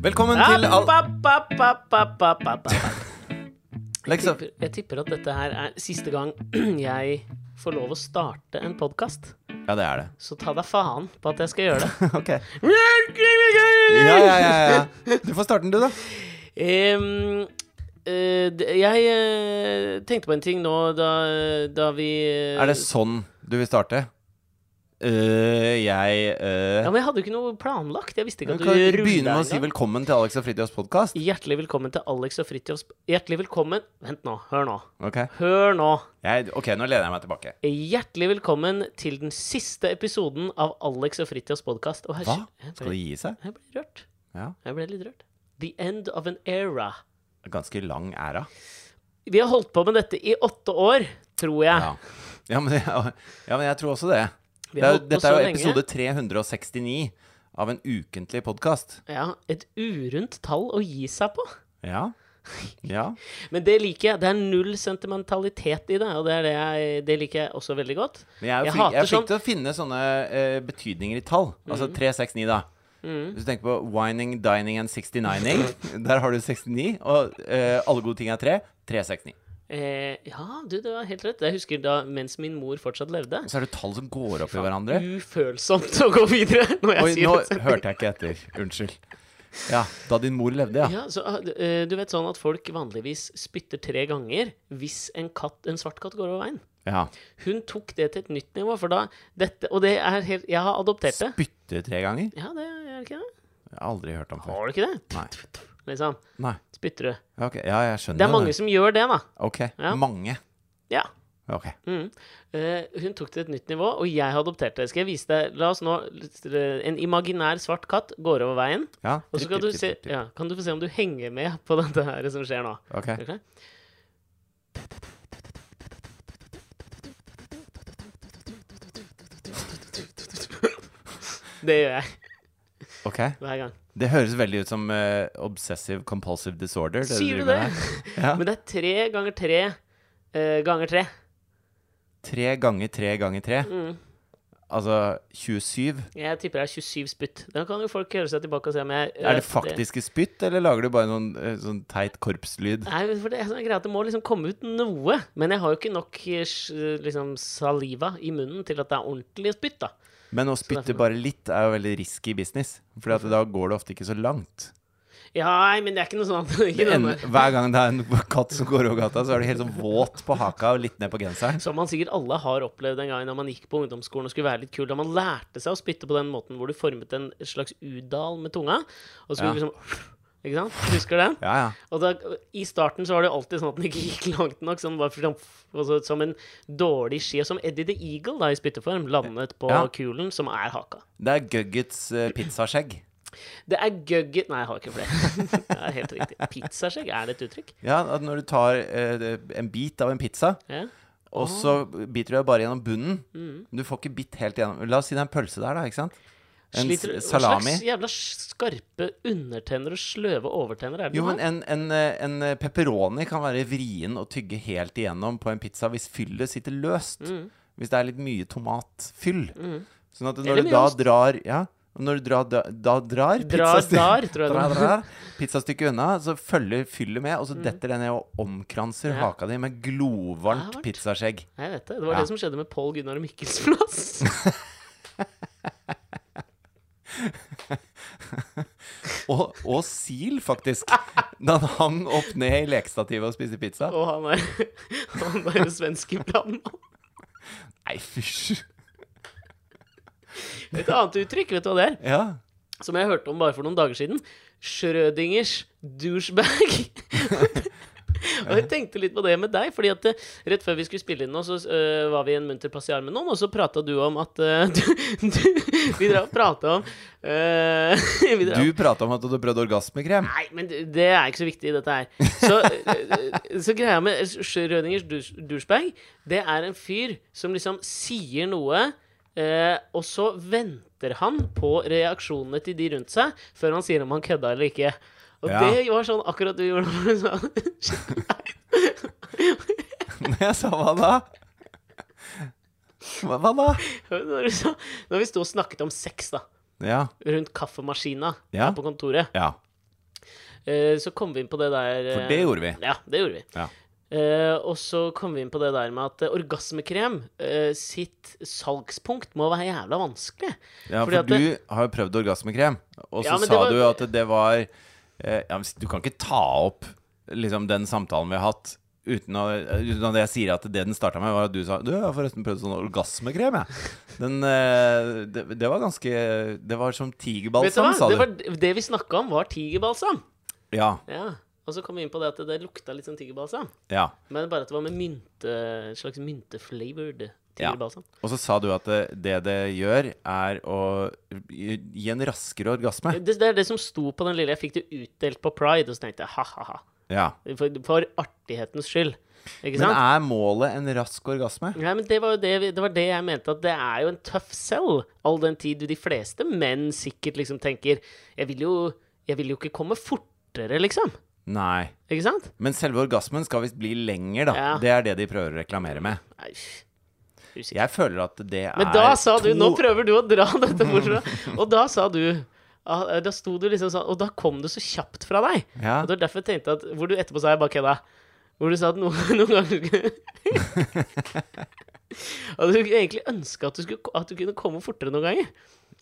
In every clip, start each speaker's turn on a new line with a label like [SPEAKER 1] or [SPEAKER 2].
[SPEAKER 1] Velkommen til
[SPEAKER 2] App,
[SPEAKER 1] all...
[SPEAKER 2] app, app, app, app, app, app, app. Jeg
[SPEAKER 1] Lexa.
[SPEAKER 2] tipper, jeg tipper at dette her er siste gang jeg får lov å starte en podkast.
[SPEAKER 1] Ja, det er det.
[SPEAKER 2] Så ta deg faen på at jeg skal gjøre det.
[SPEAKER 1] Ok. Ja, ja, ja, ja. Du får starte den, du, da.
[SPEAKER 2] Em, eh, d- jeg eh, tenkte på en ting nå da, da vi eh,
[SPEAKER 1] Er det sånn du vil starte? Øh, jeg øh,
[SPEAKER 2] Ja, men jeg hadde jo ikke noe planlagt. Jeg visste ikke
[SPEAKER 1] Du
[SPEAKER 2] at
[SPEAKER 1] kan
[SPEAKER 2] du
[SPEAKER 1] begynne med å si
[SPEAKER 2] engang.
[SPEAKER 1] velkommen til Alex og Fridtjofs podkast.
[SPEAKER 2] Hjertelig velkommen til Alex og Fridtjofs Hjertelig velkommen Vent nå. Hør nå.
[SPEAKER 1] Ok.
[SPEAKER 2] Hør nå.
[SPEAKER 1] Jeg, ok, nå lener jeg meg tilbake.
[SPEAKER 2] Hjertelig velkommen til den siste episoden av Alex og Fridtjofs podkast. Og her-
[SPEAKER 1] Hva?
[SPEAKER 2] Jeg
[SPEAKER 1] Skal
[SPEAKER 2] ble,
[SPEAKER 1] det gi seg?
[SPEAKER 2] jeg ble rørt.
[SPEAKER 1] Ja.
[SPEAKER 2] Jeg ble litt rørt. The end of an era.
[SPEAKER 1] Ganske lang æra.
[SPEAKER 2] Vi har holdt på med dette i åtte år, tror jeg.
[SPEAKER 1] Ja. Ja, men, ja, men jeg tror også det.
[SPEAKER 2] Vi
[SPEAKER 1] det
[SPEAKER 2] har
[SPEAKER 1] er,
[SPEAKER 2] holdt på
[SPEAKER 1] dette er
[SPEAKER 2] så
[SPEAKER 1] jo
[SPEAKER 2] lenge.
[SPEAKER 1] episode 369 av en ukentlig podkast.
[SPEAKER 2] Ja, Et urundt tall å gi seg på.
[SPEAKER 1] Ja. Ja.
[SPEAKER 2] Men det liker jeg. Det er null sentimentalitet i det, og det, er det, jeg, det liker jeg også veldig godt.
[SPEAKER 1] Men jeg er
[SPEAKER 2] Jeg
[SPEAKER 1] jo flink, jeg er
[SPEAKER 2] hater sånn- Mm.
[SPEAKER 1] flink til å finne sånne eh, betydninger i tall. Altså 369, da. Hvis du tenker på wining, dining and 69-ing, der har du 69. Og eh, alle gode ting er 3. 369.
[SPEAKER 2] Eh, ja, du, det var helt rett. Jeg husker da mens min mor fortsatt levde.
[SPEAKER 1] Og så er det tall som går opp i hverandre.
[SPEAKER 2] Ufølsomt å gå videre når jeg
[SPEAKER 1] Oi,
[SPEAKER 2] sier
[SPEAKER 1] nå
[SPEAKER 2] det.
[SPEAKER 1] hørte jeg ikke etter. Unnskyld. Ja, da din mor levde, ja.
[SPEAKER 2] Ja, så, ah, d- eh, du vet sånn at folk vanligvis spytter tre ganger hvis en, katt, en svart katt går over veien.
[SPEAKER 1] ja.
[SPEAKER 2] Hun tok det til et nytt nivå, for da dette, Og det er helt Jeg har adoptert det.
[SPEAKER 1] Spytte tre ganger?
[SPEAKER 2] Ja, det er det ikke det?
[SPEAKER 1] Jeg har aldri hørt om før.
[SPEAKER 2] Har du ikke det?
[SPEAKER 1] Nei.
[SPEAKER 2] Liksom.
[SPEAKER 1] Nei.
[SPEAKER 2] Spytter du.
[SPEAKER 1] Ja, ok. Ja, jeg skjønner
[SPEAKER 2] Det er mange som gjør det, da.
[SPEAKER 1] Ok.
[SPEAKER 2] Ja.
[SPEAKER 1] Mange.
[SPEAKER 2] Ja.
[SPEAKER 1] Ok.
[SPEAKER 2] Mm. Eh, hun tok det til et nytt nivå, og jeg har adoptert det. Skal jeg vise deg La oss nå En imaginær svart katt går over veien,
[SPEAKER 1] Ja.
[SPEAKER 2] og så kan
[SPEAKER 1] tipp,
[SPEAKER 2] du,
[SPEAKER 1] tipp,
[SPEAKER 2] se,
[SPEAKER 1] tipp, tipp.
[SPEAKER 2] ja, kan du få se om du henger med på dette her som skjer nå.
[SPEAKER 1] Ok.
[SPEAKER 2] Er du klar? Det gjør jeg
[SPEAKER 1] ok.
[SPEAKER 2] hver gang.
[SPEAKER 1] Det høres veldig ut som eh, obsessive compulsive disorder. det
[SPEAKER 2] Sier du
[SPEAKER 1] driver
[SPEAKER 2] det?
[SPEAKER 1] med her. Ja.
[SPEAKER 2] Men det er tre ganger tre eh, ganger tre.
[SPEAKER 1] Tre ganger tre ganger tre.
[SPEAKER 2] Mm.
[SPEAKER 1] Altså 27.
[SPEAKER 2] Jeg tipper det er 27 spytt. Da kan jo folk høre seg tilbake og se om jeg eh,
[SPEAKER 1] Er det faktiske spytt, eller lager du bare noen eh, sånn teit korpslyd?
[SPEAKER 2] Nei, for det, er sånn greia at det må liksom komme ut noe. Men jeg har jo ikke nok eh, s- liksom, saliva i munnen til at det er ordentlig spytt, da.
[SPEAKER 1] Men å spytte
[SPEAKER 2] derfor-
[SPEAKER 1] bare litt er jo veldig risky business, for da går det ofte ikke så langt.
[SPEAKER 2] Ja, nei, men det er ikke noe sånn ikke
[SPEAKER 1] Det
[SPEAKER 2] noe-
[SPEAKER 1] ender- hver gang det er en katt som går over gata, så er du helt sånn våt på haka og litt ned på genseren.
[SPEAKER 2] Som man sikkert alle har opplevd en gang da man gikk på ungdomsskolen og skulle være litt kul. Da man lærte seg å spytte på den måten hvor du formet en slags udal med tunga. Og så
[SPEAKER 1] Ja.
[SPEAKER 2] skulle du liksom Ikke sant? Husker du den?
[SPEAKER 1] Ja, ja.
[SPEAKER 2] Og da, I starten så var det jo alltid sånn at den ikke gikk langt nok. Sånn bare sånn, og så, som en dårlig ski. Og som Eddie the Eagle da i spytteform landet på
[SPEAKER 1] Ja.
[SPEAKER 2] kulen, som er haka.
[SPEAKER 1] Det er Guggets eh, pizzaskjegg.
[SPEAKER 2] Det er gugget Nei, jeg har ikke flere. Det er helt riktig. Pizzaskjegg, er det et uttrykk?
[SPEAKER 1] Ja, at når du tar eh, det- en bit av en pizza,
[SPEAKER 2] Ja.
[SPEAKER 1] og så
[SPEAKER 2] Ah.
[SPEAKER 1] biter du deg bare gjennom bunnen
[SPEAKER 2] Mm.
[SPEAKER 1] Du får ikke bitt helt gjennom. La oss si det er en pølse der, da, ikke sant? En s-
[SPEAKER 2] Sliter- Hva
[SPEAKER 1] salami.
[SPEAKER 2] slags jævla skarpe undertenner og sløve overtenner er det
[SPEAKER 1] Jo,
[SPEAKER 2] du har?
[SPEAKER 1] men en, en, eh, en pepperoni kan være vrien å tygge helt igjennom på en pizza hvis fyllet sitter løst.
[SPEAKER 2] Mm.
[SPEAKER 1] Hvis det er litt mye tomatfyll. Sånn at når du
[SPEAKER 2] Eller mye
[SPEAKER 1] da
[SPEAKER 2] ost.
[SPEAKER 1] drar Ja, og når du drar, da, da drar,
[SPEAKER 2] Drar,
[SPEAKER 1] pizzasty-
[SPEAKER 2] drar, tror jeg det
[SPEAKER 1] drar,
[SPEAKER 2] var.
[SPEAKER 1] drar pizzastykket unna, så følger fyllet med, og så detter det ned og omkranser
[SPEAKER 2] Mm. Ja.
[SPEAKER 1] haka di med glovarmt
[SPEAKER 2] Det er varmt.
[SPEAKER 1] pizzaskjegg.
[SPEAKER 2] Jeg vet det. Det var
[SPEAKER 1] Ja.
[SPEAKER 2] det som skjedde med Pål Gunnar Mikkels plass.
[SPEAKER 1] Og, og sil, faktisk. Da han hang opp ned i lekestativet og spiste pizza.
[SPEAKER 2] Og han er, han er jo svenske brannmann.
[SPEAKER 1] Nei, fysj.
[SPEAKER 2] Et annet uttrykk, vet du hva det er?
[SPEAKER 1] Ja.
[SPEAKER 2] Som jeg hørte om bare for noen dager siden. Schrødingers douchebag. og jeg tenkte litt på det med deg, fordi at eh, rett før vi skulle spille inn nå, så eh, var vi i en munter passiar med noen, og så prata du om at eh, du, du, Vi drar og prata om eh, vi drar-
[SPEAKER 1] Du prata om at du hadde prøvd orgasmekrem.
[SPEAKER 2] Nei, men det det er ikke så viktig i dette her. Så, eh, så greia med Schrødingers dus- douchebag, det er en fyr som liksom sier noe, eh, og så venter han på reaksjonene til de rundt seg før han sier om han kødda eller ikke. Og
[SPEAKER 1] Ja.
[SPEAKER 2] det var sånn akkurat du gjorde. når du sa-
[SPEAKER 1] Når jeg sa hva da? Hva, hva da?
[SPEAKER 2] Når du sa Når vi sto og snakket om sex, da,
[SPEAKER 1] Ja.
[SPEAKER 2] rundt kaffemaskina
[SPEAKER 1] Ja.
[SPEAKER 2] her på kontoret,
[SPEAKER 1] Ja.
[SPEAKER 2] eh, så kom vi inn på det der eh,
[SPEAKER 1] For det gjorde vi.
[SPEAKER 2] Ja, det gjorde vi.
[SPEAKER 1] Ja.
[SPEAKER 2] Eh, og så kom vi inn på det der med at eh, orgasmekrem eh, sitt salgspunkt må være jævla vanskelig.
[SPEAKER 1] Ja,
[SPEAKER 2] Fordi
[SPEAKER 1] for
[SPEAKER 2] at
[SPEAKER 1] du
[SPEAKER 2] det-
[SPEAKER 1] har jo prøvd orgasmekrem, og så
[SPEAKER 2] Ja, men
[SPEAKER 1] sa
[SPEAKER 2] det var-
[SPEAKER 1] du at det var eh, ja, men Du kan ikke ta opp liksom, den samtalen vi har hatt uten, å, uten at jeg sier at det den starta med, var at du sa Du, jeg har forresten prøvd sånn orgasmekrem, jeg. Den, eh, det, det var ganske Det var som
[SPEAKER 2] Vet du hva?
[SPEAKER 1] tigerbalsam, sa du.
[SPEAKER 2] Det, var, det vi snakka om, var tigerbalsam.
[SPEAKER 1] Ja.
[SPEAKER 2] Ja. Og så kom vi inn på det at det lukta litt sånn tigerbalsam.
[SPEAKER 1] ja.
[SPEAKER 2] Men bare at det var med mynte, en slags mynteflavored
[SPEAKER 1] Ja.
[SPEAKER 2] tigerbalsam.
[SPEAKER 1] Og så sa du at det det, det gjør, er å gi gi en raskere orgasme.
[SPEAKER 2] Det, det er det som sto på den lille. Jeg fikk det utdelt på Pride, og så tenkte jeg ha-ha-ha.
[SPEAKER 1] Ja.
[SPEAKER 2] For, for artighetens skyld. Ikke
[SPEAKER 1] Men
[SPEAKER 2] sant?
[SPEAKER 1] er målet en rask orgasme?
[SPEAKER 2] Nei, men det var jo det, vi- det var det jeg mente, at det er jo en tøff sell, all den tid de fleste menn sikkert liksom tenker Jeg vil jo, jeg vil jo ikke komme fortere, liksom.
[SPEAKER 1] Nei.
[SPEAKER 2] Ikke sant?
[SPEAKER 1] Men selve orgasmen skal visst bli lenger, da.
[SPEAKER 2] Ja.
[SPEAKER 1] Det er det de prøver å reklamere med.
[SPEAKER 2] Nei, pff, usikker.
[SPEAKER 1] Jeg føler at det er
[SPEAKER 2] Men da sa du
[SPEAKER 1] to-
[SPEAKER 2] Nå prøver du å dra dette bort fra Og da sa du ah, Da sto du liksom sånn Og da kom det så kjapt fra deg.
[SPEAKER 1] Ja.
[SPEAKER 2] Og det var derfor jeg tenkte at Hvor du etterpå sa jeg bare kødda. Hvor du sa at noen, noen ganger skulle Og du egentlig ønska at, du skulle- at du kunne komme fortere noen ganger.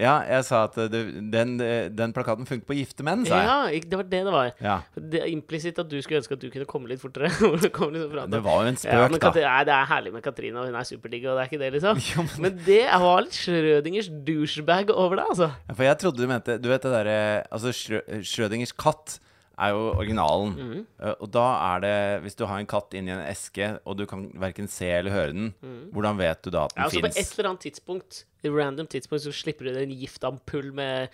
[SPEAKER 1] ja, jeg sa at det, den, den plakaten funker på gifte menn, sa jeg.
[SPEAKER 2] Ja, ikke- det var det det var.
[SPEAKER 1] Ja.
[SPEAKER 2] Det er implisitt at du skulle ønske at du kunne komme litt fortere. Hvor du kom liksom fra
[SPEAKER 1] Det var jo en
[SPEAKER 2] ja,
[SPEAKER 1] spøk,
[SPEAKER 2] men
[SPEAKER 1] da.
[SPEAKER 2] Katri- nei, det er herlig med Katrine, og hun er superdigg, og det er ikke det, liksom.
[SPEAKER 1] Ja, men-
[SPEAKER 2] Men det var litt Schrødingers douchebag over det, altså.
[SPEAKER 1] Ja, For jeg trodde du mente Du vet det derre Altså, Schrø Schrødingers katt er jo originalen.
[SPEAKER 2] Mm.
[SPEAKER 1] Eh, Og da er det Hvis du har en katt inni en eske, og du kan verken se eller høre den, hvordan vet du da at den
[SPEAKER 2] Mm. Ja, altså På et
[SPEAKER 1] fins?
[SPEAKER 2] eller annet tidspunkt et random tidspunkt så slipper du en giftampull med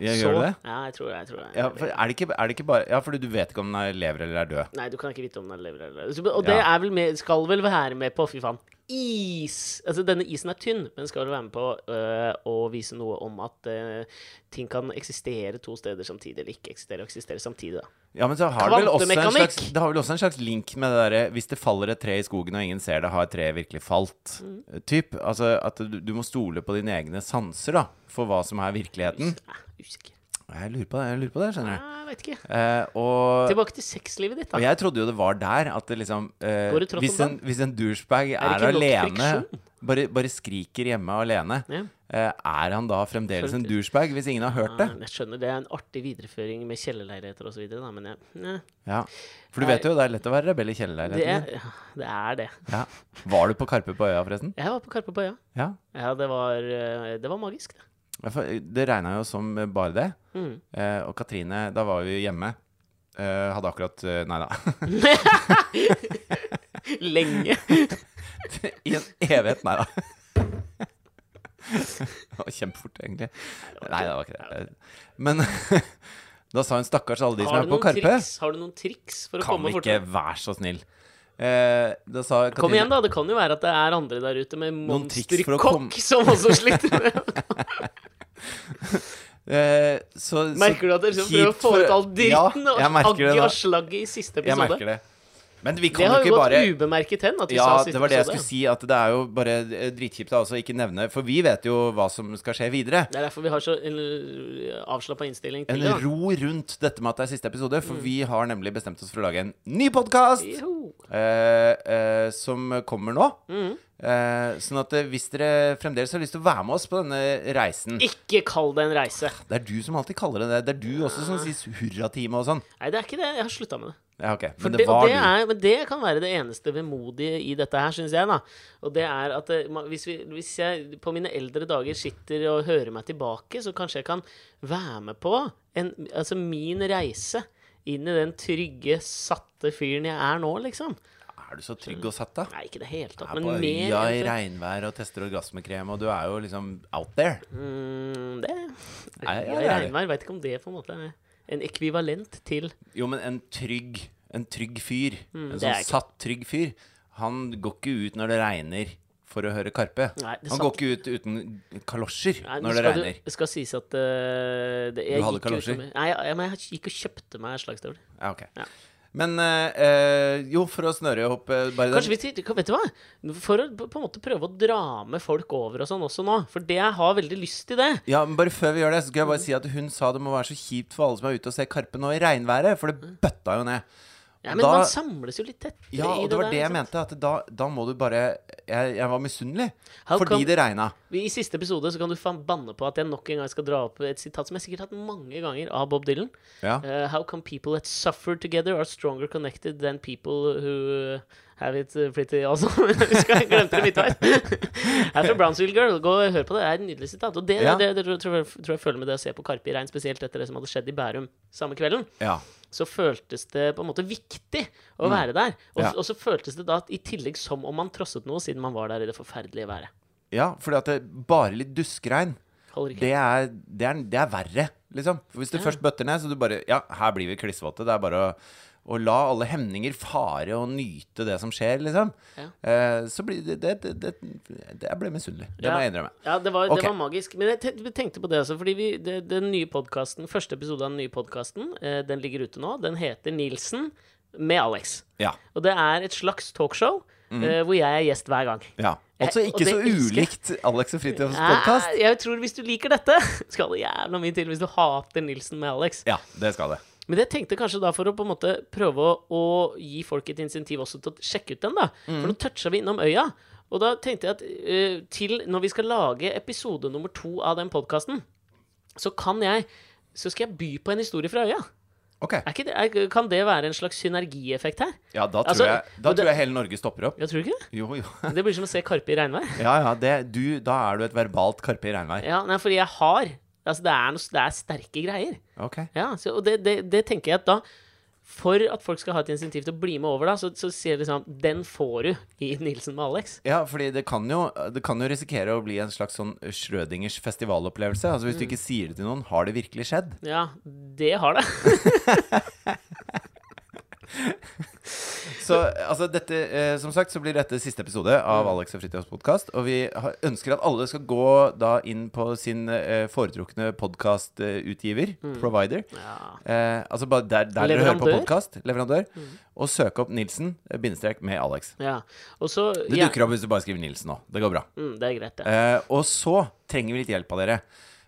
[SPEAKER 1] Ja,
[SPEAKER 2] Så-
[SPEAKER 1] gjør du det?
[SPEAKER 2] Ja, jeg tror det. Jeg tror det.
[SPEAKER 1] Ja, for er det, ikke, er det ikke bare Ja, fordi du vet ikke om den er lever eller er død.
[SPEAKER 2] Nei, du kan ikke vite om den lever eller så- Og det
[SPEAKER 1] Ja.
[SPEAKER 2] er vel med, skal vel være med på Fy faen. Is! Altså, denne isen er tynn, men skal vel være med på øh, å vise noe om at øh, ting kan eksistere to steder samtidig, eller ikke eksistere og eksistere samtidig, da.
[SPEAKER 1] Ja, men så har det vel også en
[SPEAKER 2] Kvantemekanikk!
[SPEAKER 1] slags Det har vel også en slags link med det derre Hvis det faller et tre i skogen og ingen ser det, har treet virkelig falt?
[SPEAKER 2] Mm.
[SPEAKER 1] Typ. Altså at du, du må stole på dine egne sanser, da, for hva som er virkeligheten.
[SPEAKER 2] Nei, usikker.
[SPEAKER 1] Jeg lurer på det, jeg lurer på det, skjønner du.
[SPEAKER 2] Mm. Nei, Jeg vet ikke.
[SPEAKER 1] Eh, og,
[SPEAKER 2] Tilbake til sexlivet ditt,
[SPEAKER 1] og
[SPEAKER 2] da.
[SPEAKER 1] jeg trodde jo det var der at det liksom eh,
[SPEAKER 2] Går det trått
[SPEAKER 1] hvis,
[SPEAKER 2] om
[SPEAKER 1] en, hvis en douchebag er,
[SPEAKER 2] det ikke nok
[SPEAKER 1] alene,
[SPEAKER 2] friksjon?
[SPEAKER 1] bare, bare skriker hjemme alene,
[SPEAKER 2] Ja.
[SPEAKER 1] eh, er han da fremdeles en
[SPEAKER 2] Selvfølgelig.
[SPEAKER 1] douchebag hvis ingen har hørt det?
[SPEAKER 2] Ja, jeg skjønner det er en artig videreføring med kjellerleiligheter osv., men jeg, nei,
[SPEAKER 1] Ja. For du vet jo, det er lett å være rebell i
[SPEAKER 2] det,
[SPEAKER 1] kjellerleiligheten.
[SPEAKER 2] er, ja, det er det.
[SPEAKER 1] Ja. Var du på Karpe på øya, forresten?
[SPEAKER 2] Jeg var på Karpe på øya.
[SPEAKER 1] Ja.
[SPEAKER 2] Ja, det var, eh, det var magisk, det.
[SPEAKER 1] Ja, for Det regna jo som bare det.
[SPEAKER 2] Mm.
[SPEAKER 1] Eh, og Katrine, da var vi jo hjemme. Eh, hadde akkurat eh, Nei da.
[SPEAKER 2] Lenge.
[SPEAKER 1] I en evighet, nei da. Det var kjempefort, egentlig. Nei, det var ikke det. Men da sa hun stakkars alle de som
[SPEAKER 2] Har
[SPEAKER 1] er
[SPEAKER 2] du,
[SPEAKER 1] på
[SPEAKER 2] noen
[SPEAKER 1] Karpe.
[SPEAKER 2] triks? har du noen triks for å
[SPEAKER 1] Kan
[SPEAKER 2] komme
[SPEAKER 1] vi ikke,
[SPEAKER 2] fortere?
[SPEAKER 1] vær så snill. Eh, da sa Katrine
[SPEAKER 2] Kom igjen, da. Det kan jo være at det er andre der ute med
[SPEAKER 1] Noen triks for å komme-
[SPEAKER 2] monsterkokk som også sliter med
[SPEAKER 1] Eh, så, så
[SPEAKER 2] Merker du at dere liksom prøver å
[SPEAKER 1] kjipt
[SPEAKER 2] få
[SPEAKER 1] for-
[SPEAKER 2] ut all dritten
[SPEAKER 1] Ja, jeg
[SPEAKER 2] og
[SPEAKER 1] merker det
[SPEAKER 2] agget
[SPEAKER 1] nå.
[SPEAKER 2] og slagget i siste
[SPEAKER 1] Jeg
[SPEAKER 2] episode?
[SPEAKER 1] merker det. Men vi
[SPEAKER 2] Det
[SPEAKER 1] kan jo
[SPEAKER 2] har jo
[SPEAKER 1] ikke
[SPEAKER 2] gått
[SPEAKER 1] bare
[SPEAKER 2] ubemerket hen. At vi
[SPEAKER 1] Ja,
[SPEAKER 2] sa siste
[SPEAKER 1] det var det jeg
[SPEAKER 2] episode.
[SPEAKER 1] skulle si. At det er jo bare eh, dritkjipt å altså ikke nevne For vi vet jo hva som skal skje videre.
[SPEAKER 2] Det er derfor vi har så en avslappa innstilling til
[SPEAKER 1] En
[SPEAKER 2] det. da.
[SPEAKER 1] ro rundt dette med at det er siste episode,
[SPEAKER 2] Mm.
[SPEAKER 1] for vi har nemlig bestemt oss for å lage en ny podkast
[SPEAKER 2] Jo.
[SPEAKER 1] eh, eh, som kommer nå.
[SPEAKER 2] Mm.
[SPEAKER 1] Eh, sånn at eh, hvis dere fremdeles har lyst til å være med oss på denne reisen
[SPEAKER 2] Ikke kall det en reise.
[SPEAKER 1] Det er du som alltid kaller det det. Det er du også som sier hurratime og sånn.
[SPEAKER 2] Nei, det er ikke det. Jeg har slutta med det.
[SPEAKER 1] Ja, ok.
[SPEAKER 2] For
[SPEAKER 1] Men
[SPEAKER 2] det,
[SPEAKER 1] det
[SPEAKER 2] og
[SPEAKER 1] var
[SPEAKER 2] det
[SPEAKER 1] du.
[SPEAKER 2] er, men det kan være det eneste vemodige i dette her, syns jeg. da Og det er at eh, ma- hvis, vi, hvis jeg på mine eldre dager sitter og hører meg tilbake, så kanskje jeg kan være med på en, altså min reise inn i den trygge, satte fyren jeg er nå, liksom.
[SPEAKER 1] Er du så trygg og satt, da?
[SPEAKER 2] Nei, ikke i det hele tatt,
[SPEAKER 1] Er
[SPEAKER 2] men
[SPEAKER 1] på
[SPEAKER 2] mer
[SPEAKER 1] øya i
[SPEAKER 2] enn før.
[SPEAKER 1] regnvær og tester orgasmekrem, og du er jo liksom out there.
[SPEAKER 2] Mm, det
[SPEAKER 1] Nei, ja,
[SPEAKER 2] Jeg
[SPEAKER 1] det er det.
[SPEAKER 2] regner med, veit ikke om det på en måte er en ekvivalent til
[SPEAKER 1] Jo, men en trygg En trygg fyr. en
[SPEAKER 2] Mm, det er
[SPEAKER 1] sånn
[SPEAKER 2] ikke-
[SPEAKER 1] satt trygg fyr. Han går ikke ut når det regner for å høre Karpe.
[SPEAKER 2] Nei, det er
[SPEAKER 1] han
[SPEAKER 2] sant.
[SPEAKER 1] går ikke ut uten kalosjer
[SPEAKER 2] Nei, nå
[SPEAKER 1] når det
[SPEAKER 2] skal
[SPEAKER 1] regner.
[SPEAKER 2] Det skal sies at eh, det, jeg
[SPEAKER 1] Du hadde
[SPEAKER 2] gikk jo
[SPEAKER 1] kalosjer?
[SPEAKER 2] som- Nei, jeg, jeg, men jeg gikk og kjøpte meg slagstøvler.
[SPEAKER 1] Ja, ok.
[SPEAKER 2] Ja.
[SPEAKER 1] Men eh, eh, jo, for å snøre opp eh, bare den-
[SPEAKER 2] Kanskje vi tid- Vet du hva? For å på på en måte prøve å dra med folk over og sånn også nå. For det jeg har veldig lyst til det.
[SPEAKER 1] Ja, men bare Før vi gjør det, så skal jeg bare si at hun sa det må være så kjipt for alle som er ute og ser Karpe nå i regnværet, for det bøtta jo ned.
[SPEAKER 2] Mm. Ja,
[SPEAKER 1] Og
[SPEAKER 2] men
[SPEAKER 1] da-
[SPEAKER 2] man samles jo litt tettere
[SPEAKER 1] Ja,
[SPEAKER 2] i
[SPEAKER 1] og
[SPEAKER 2] det,
[SPEAKER 1] det var
[SPEAKER 2] der,
[SPEAKER 1] det jeg
[SPEAKER 2] ikke sant?
[SPEAKER 1] mente. At da, da må du bare Jeg, jeg var misunnelig.
[SPEAKER 2] How
[SPEAKER 1] Fordi
[SPEAKER 2] come-
[SPEAKER 1] det regna.
[SPEAKER 2] Vi- I siste episode så kan du faen banne på at jeg nok en gang skal dra opp et sitat som jeg sikkert har hatt mange ganger av Bob Dylan.
[SPEAKER 1] Ja.
[SPEAKER 2] Eh, how come people that suffer together are stronger connected than people who have it eh, pretty also? Husker jeg glemte det midtveis. Her fra Brownsville Girl. Gå og hør på det. Det er et nydelig sitat. Og det,
[SPEAKER 1] Ja.
[SPEAKER 2] det, det, tror, tror jeg, tror jeg føler med det å se på Karpe i regn, spesielt etter det som hadde skjedd i Bærum samme kvelden.
[SPEAKER 1] ja.
[SPEAKER 2] så føltes det på en måte viktig å være der. Og,
[SPEAKER 1] Mm. Ja.
[SPEAKER 2] og så føltes det da i tillegg som om man trosset noe, siden man var der i det forferdelige været.
[SPEAKER 1] ja fordi at det, bare litt duskregn,
[SPEAKER 2] Holder ikke.
[SPEAKER 1] det er, det er, det er verre, liksom. For hvis det først bøtter ned, så du bare Ja, her blir vi klissvåte. Det er bare å, å la alle hemninger fare og nyte det som skjer, liksom.
[SPEAKER 2] Ja.
[SPEAKER 1] Eh, så blir det Det, det, det, det Jeg ble misunnelig. Det må jeg innrømme.
[SPEAKER 2] Ja, det var,
[SPEAKER 1] Ok.
[SPEAKER 2] det var magisk. Men jeg te- tenkte på det også, fordi vi, det, den nye podcasten, første episode av den nye podkasten, eh, den ligger ute nå. Den heter Nilsen med Alex.
[SPEAKER 1] Ja.
[SPEAKER 2] Og det er et slags talkshow eh, hvor jeg er gjest hver gang.
[SPEAKER 1] Ja. Altså
[SPEAKER 2] Jeg- og
[SPEAKER 1] ikke
[SPEAKER 2] det
[SPEAKER 1] så
[SPEAKER 2] elsker jeg.
[SPEAKER 1] ulikt Alex og Fridtjofs
[SPEAKER 2] Ja,
[SPEAKER 1] podkast.
[SPEAKER 2] Ah, jeg tror Hvis du liker dette, skal det jævla mye til hvis du hater Nilsen med Alex.
[SPEAKER 1] Ja, det skal det.
[SPEAKER 2] Men jeg tenkte kanskje da for å på en måte prøve å, å gi folk et insentiv også til å sjekke ut den, da. For nå toucha vi innom øya. Og da tenkte jeg at eh, til når vi skal lage episode nummer to av den podkasten, så kan jeg så skal jeg by på en historie fra øya.
[SPEAKER 1] Ok.
[SPEAKER 2] Er ikke det, er, kan det være en slags synergieffekt her?
[SPEAKER 1] Ja, da tror,
[SPEAKER 2] Altså,
[SPEAKER 1] jeg, da
[SPEAKER 2] og det-
[SPEAKER 1] tror jeg hele Norge stopper opp.
[SPEAKER 2] Jeg tror ikke det.
[SPEAKER 1] Jo, jo.
[SPEAKER 2] Det blir som å se Karpe i regnvær.
[SPEAKER 1] Ja, ja, det, du, da er du et verbalt Karpe i regnvær.
[SPEAKER 2] Ja, nei, fordi jeg har Altså, det er, noe, det er sterke greier.
[SPEAKER 1] Ok.
[SPEAKER 2] Ja, så, og det, det, det tenker jeg at da For at folk skal ha et insentiv til å bli med over, da, så, så sier jeg liksom Den får du i Nilsen med Alex.
[SPEAKER 1] Ja, fordi det kan, jo, det kan jo risikere å bli en slags sånn Schrødingers festivalopplevelse. Altså Hvis du
[SPEAKER 2] Mm.
[SPEAKER 1] ikke sier det til noen, har det virkelig skjedd?
[SPEAKER 2] Ja, det har det.
[SPEAKER 1] Så altså dette, eh, som sagt, så blir dette siste episode
[SPEAKER 2] Mm.
[SPEAKER 1] av Alex og Fridtjofs podkast. Og vi har, ønsker at alle skal gå da inn på sin eh, foretrukne podkastutgiver, provider.
[SPEAKER 2] Ja.
[SPEAKER 1] Eh, altså bare der, der dere hører på
[SPEAKER 2] Mm. Leverandør. Mm.
[SPEAKER 1] podkast, leverandør, og søke opp Nilsen, eh, bindestrek, med Alex.
[SPEAKER 2] ja. Og så
[SPEAKER 1] Det
[SPEAKER 2] ja,
[SPEAKER 1] dukker opp hvis du bare skriver Nilsen nå. Det går bra.
[SPEAKER 2] mm, Det er greit, det.
[SPEAKER 1] Eh, og så trenger vi litt hjelp av dere.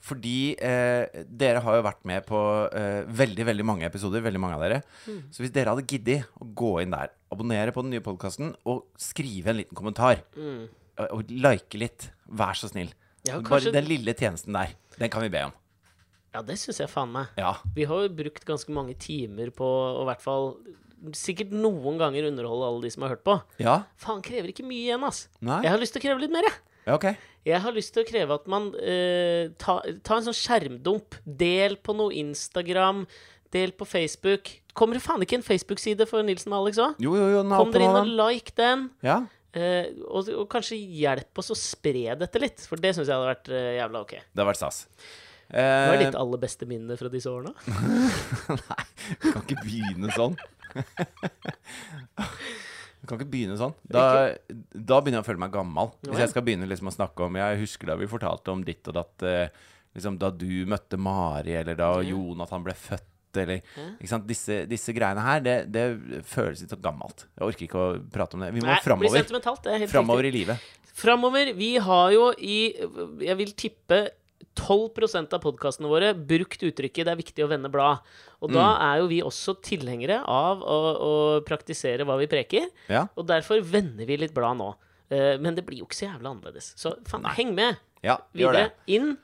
[SPEAKER 1] Fordi eh, dere har jo vært med på eh, veldig veldig mange episoder. veldig mange av dere
[SPEAKER 2] Mm.
[SPEAKER 1] Så hvis dere hadde giddet å gå inn der, abonnere på den nye podkasten og skrive en liten kommentar, og, og like litt, vær så snill
[SPEAKER 2] Mm. Ja, kanskje-
[SPEAKER 1] Bare den lille tjenesten der. Den kan vi be om.
[SPEAKER 2] Ja, det syns jeg faen meg.
[SPEAKER 1] Ja.
[SPEAKER 2] Vi har jo brukt ganske mange timer på å i hvert fall Sikkert noen ganger underholde alle de som har hørt på.
[SPEAKER 1] Ja?
[SPEAKER 2] Faen, krever ikke mye igjen, ass.
[SPEAKER 1] Nei?
[SPEAKER 2] Jeg har lyst til å kreve litt mer, jeg.
[SPEAKER 1] Ja, ok.
[SPEAKER 2] Jeg har lyst til å kreve at man eh, ta, ta en sånn skjermdump. Del på noe Instagram. Del på Facebook. Kommer det faen ikke en Facebook-side for Nilsen og Alex òg?
[SPEAKER 1] Jo, jo, jo. Den er
[SPEAKER 2] Kom
[SPEAKER 1] oppe nå,
[SPEAKER 2] dere inn og
[SPEAKER 1] den.
[SPEAKER 2] like den.
[SPEAKER 1] Ja.
[SPEAKER 2] eh, og, og kanskje hjelp oss å spre dette litt, for det syns jeg hadde vært eh, jævla ok.
[SPEAKER 1] Det har vært stas.
[SPEAKER 2] Hva er
[SPEAKER 1] Eh,
[SPEAKER 2] ditt aller beste minne fra disse årene?
[SPEAKER 1] Du kan ikke begynne sånn. Du kan ikke begynne sånn. Da, da begynner jeg å føle meg gammel. Hvis jeg skal begynne liksom å snakke om Jeg husker da vi fortalte om ditt og datt eh, liksom Da du møtte Mari, eller da Jonathan ble født, eller ikke sant? Disse, disse greiene her, det, det føles litt så gammelt. Jeg orker ikke å prate om det. Vi må
[SPEAKER 2] Nei, blir
[SPEAKER 1] framover.
[SPEAKER 2] sentimentalt. Det er helt
[SPEAKER 1] Framover i livet.
[SPEAKER 2] riktig. Framover. Vi har jo i Jeg vil tippe 12 av podkastene våre brukt uttrykket 'det er viktig å vende blad'. Og da
[SPEAKER 1] Mm.
[SPEAKER 2] er jo vi også tilhengere av å, å praktisere hva vi preker.
[SPEAKER 1] Ja.
[SPEAKER 2] Og derfor vender vi litt blad nå. Eh, Men det blir jo ikke så jævla annerledes. Så faen, heng med
[SPEAKER 1] ja gjør det.
[SPEAKER 2] videre. Inn,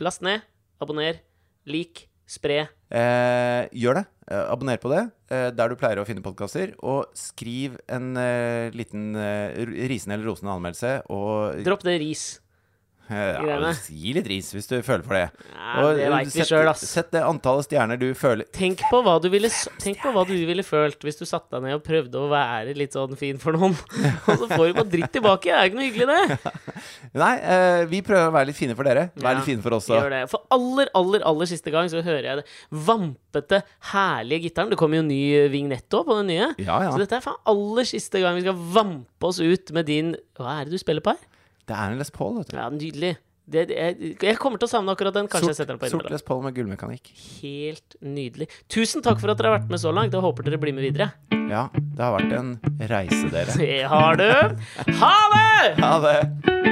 [SPEAKER 2] last ned, abonner, lik, spre.
[SPEAKER 1] Eh, gjør det. Eh, abonner på det eh, der du pleier å finne podkaster. Og skriv en eh, liten eh, r- risende eller rosende anmeldelse. Og
[SPEAKER 2] Dropp det ris.
[SPEAKER 1] Eh, ja,
[SPEAKER 2] greiene.
[SPEAKER 1] gi litt ris hvis du føler for det.
[SPEAKER 2] Ja, det
[SPEAKER 1] eh,
[SPEAKER 2] vet vi
[SPEAKER 1] sett-
[SPEAKER 2] selv, ass.
[SPEAKER 1] Sett det antallet stjerner du føler
[SPEAKER 2] Tenk på, hva du ville, tenk på hva du ville følt hvis du satte deg ned og prøvde å være litt sånn fin for noen. Og så får du bare dritt tilbake. Det er jo ikke noe hyggelig, det.
[SPEAKER 1] Nei, eh, vi prøver å være litt fine for dere. Vær
[SPEAKER 2] Ja,
[SPEAKER 1] litt fine for oss
[SPEAKER 2] Gjør
[SPEAKER 1] òg.
[SPEAKER 2] det. For aller, aller aller siste gang så hører jeg det vampete, herlige gitaren. Det kommer jo ny eh, vignett òg på den nye.
[SPEAKER 1] Ja, ja.
[SPEAKER 2] Så dette er faen aller siste gang vi skal vampe oss ut med din Hva er det du spiller på her?
[SPEAKER 1] Det er en Les Paul, vet du.
[SPEAKER 2] Ja, nydelig. det, jeg, jeg kommer til å savne akkurat den. Kanskje jeg setter den på innimellom.
[SPEAKER 1] Sortless Poll med gullmekanikk.
[SPEAKER 2] Helt nydelig. Tusen takk for at dere har vært med så langt. Jeg håper dere blir med videre.
[SPEAKER 1] Ja, det har vært en reise, dere.
[SPEAKER 2] Det har du. Ha det!
[SPEAKER 1] Ha det!